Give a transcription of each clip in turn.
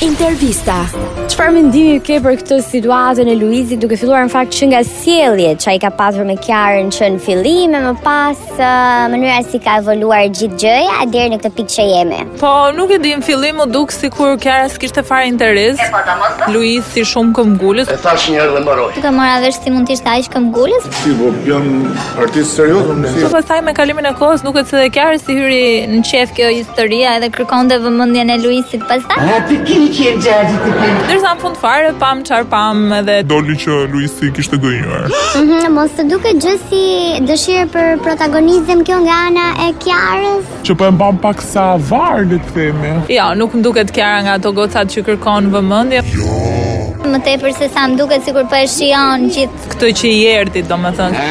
Intervista. Çfarë mendimi ke për këtë situatën e Luizit duke filluar në fakt që nga sjellje që ai ka pasur me Kiarën që në fillim e më pas ë, mënyra si ka evoluar gjithë gjëja deri në këtë pikë që jemi. Po, nuk e di, në fillim u duk sikur Kiara s'kishte fare interes. Luis si shumë këmbgulës. E thash një herë dhe mbaroj. Duke marrë vesh si mund të ishte aq këmbgulës? Si, po jam artist serioz, unë si. Po pastaj me kalimin e kohës nuk e se dhe Kiara si hyri në qef kjo historia edhe kërkonte vëmendjen e Luisit pastaj. Ha të keqje gjatë të keqje. Ndërsa në fund fare pam çfarë pam edhe doli që Luisi kishte gënjur. Mhm, mos të duket gjë si dëshirë për protagonizëm kjo nga ana e Kiarës. Që po e mbam pak sa avar, le të themi. Ja, nuk më duket Kiara nga ato gocat që kërkon vëmendje. Më tepër se sa më duket sikur po e shijon gjithë. Këtë që i erdi, domethënë,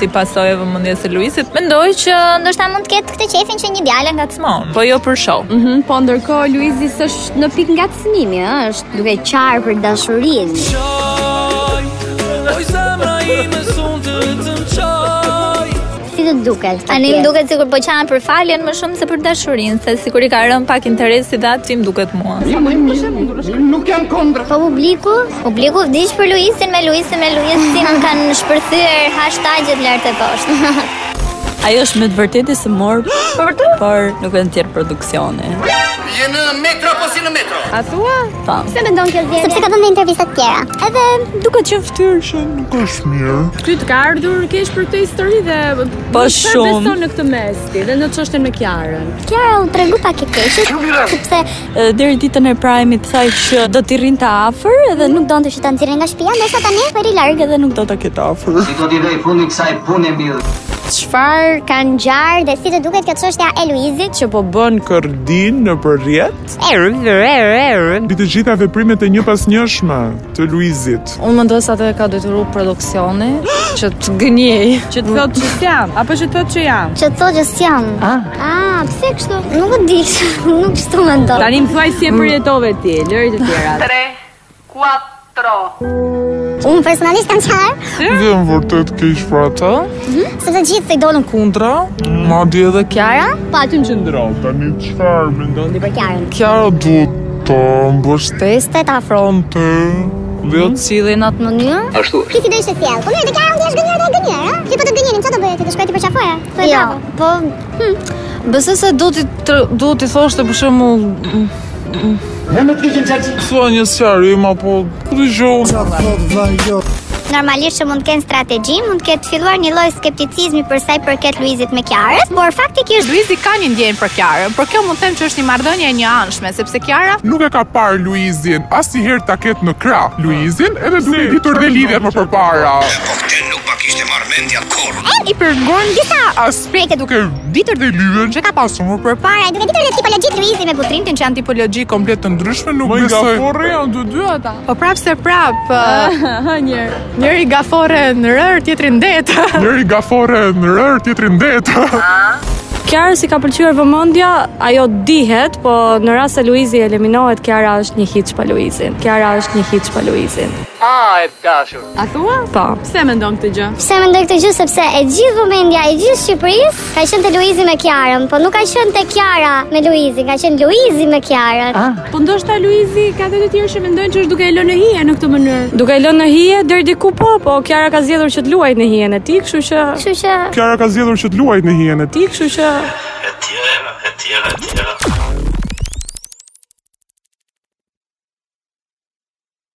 si pasojë vëmendjes së Luisit. Mendoj që Ndoshta mund të ketë këtë qefin që një djalë nga ndërmon, po jo për show. Mhm, po ndërkohë Luizi s'është në pikë ngacmimi, ë, është duke qarë për dashurinë. si të duket. Tani atje. më duket sikur po qahen për faljen më shumë se për dashurinë, se sikur i ka rënë pak interesi dhe aty më duket mua. Nuk jam kondra. Po publiku, publiku vdiq për Luisin me Luisin me Luisin kanë shpërthyer hashtagjet lart e poshtë. Ajo është me të vërtetë se mor, por nuk e në tjerë produksione. Je në metro apo si në metro? Tam. Pse mendon kjo zgjedhje? Sepse ka dhënë intervista të tjera. Edhe Duket që ftyrshën. Nuk është mirë. Ty të ka ardhur keq për këtë histori dhe Po çfarë shumë. beson në këtë mes ti dhe në çështjen me Kiarën. Kiara u tregu pak e keqe, sepse E, Deri ditën e prajmit thaj që do t'i rrin të afër edhe nuk do donte që ta nxirrë nga shtëpia, ndërsa tani veri larg. edhe nuk do ta ketë afër. Si do t'i vej fundi kësaj pune mirë. Çfarë kanë Gjarë dhe si të duket kjo çështja e Luizit? Që po bën kërdin në përrjet. Mbi të gjitha veprimet e një pas njëshme të Luizit. Unë mendoj se atë ka detyruar produksioni që të gënjej, që të thotë që jam, apo që të thotë që jam. Që të thotë që s'jam. Ah, pse kështu? Nuk e di, nuk kështu mendoj. Tani më thuaj si e përjetove ti, lëri të tjerat. Unë personalisht kam qarë, Dhe në vërtet keq për ata. sepse gjithë se i dolën Kundra, madje edhe Kiara, pa aty Kundra. Tani çfarë mendon? për Kiarën. Kiara duhet të mbështes Peste ta afro. fronte. Dhe të Sillin atë mënyrë. Ashtu. Ti si do ishte sjell? Po mirë, dhe Kiarën ti është gënjer dhe e gënjer, ha? Ti po të gënjerin, çfarë do bëje ti? Do shkoj ti për qafoja? Po jo. Po Besoj se do ti tr- do ti thoshte për shembull Ne më të keqje gjatë. thua një sjarim apo këtë gjohë. normalisht që mund të kenë strategji, mund të ketë filluar një lloj skepticizmi për sa i përket Luizit me Kiarës, por faktikisht Luizi ka një ndjenjë për Kiarën, por kjo mund të them që është një marrëdhënie e një anshme, sepse Kiara Nuk e ka parë Luizin, asnjëherë ta ketë në krah Luizin, edhe duhet i ditur dhe lidhjet më përpara. Koktel nuk pa kishte marrë mendja kurrë. i përngon disa Aspekte duke ditur dhe lyhen që ka pasur më për para duke ditur se tipologjit Luizi me butrin, trintin që janë tipologji komplet të ndryshme nuk Më nga besoj. forre janë të dy ata. Ah, Po prap se prap, ë, një njëri gafore në rër, tjetri në det. Njëri nga forre në rër, tjetri në det. Kiara si ka pëlqyer vëmendja, ajo dihet, po në rast se Luizi eliminohet, Kiara është një hiç pa Luizin. Kiara është një hiç pa Luizin. A, e dashur. A thua? Po. Pse mendon këtë gjë? pse mendoj këtë gjë sepse e gjithë vëmendja e gjithë Shqipërisë ka qenë te Luizi me Kiarën, po nuk ka qenë te Kiara me Luizin, ka qenë Luizi me Kiarën. Po ndoshta Luizi ka të të tjerë që mendojnë që është duke e lënë hije në këtë mënyrë. Duke e lënë në hije deri diku po, po Kiara ka zgjedhur që të luajë në hijen e tij, kështu që Kështu që Kiara ka zgjedhur që të luajë në hijen e tij. ti, kështu që E tjera, e tjera, e tjera.